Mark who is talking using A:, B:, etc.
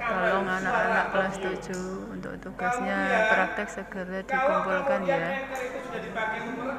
A: Tolong anak-anak kelas ya. 7 untuk tugasnya praktek segera dikumpulkan ya.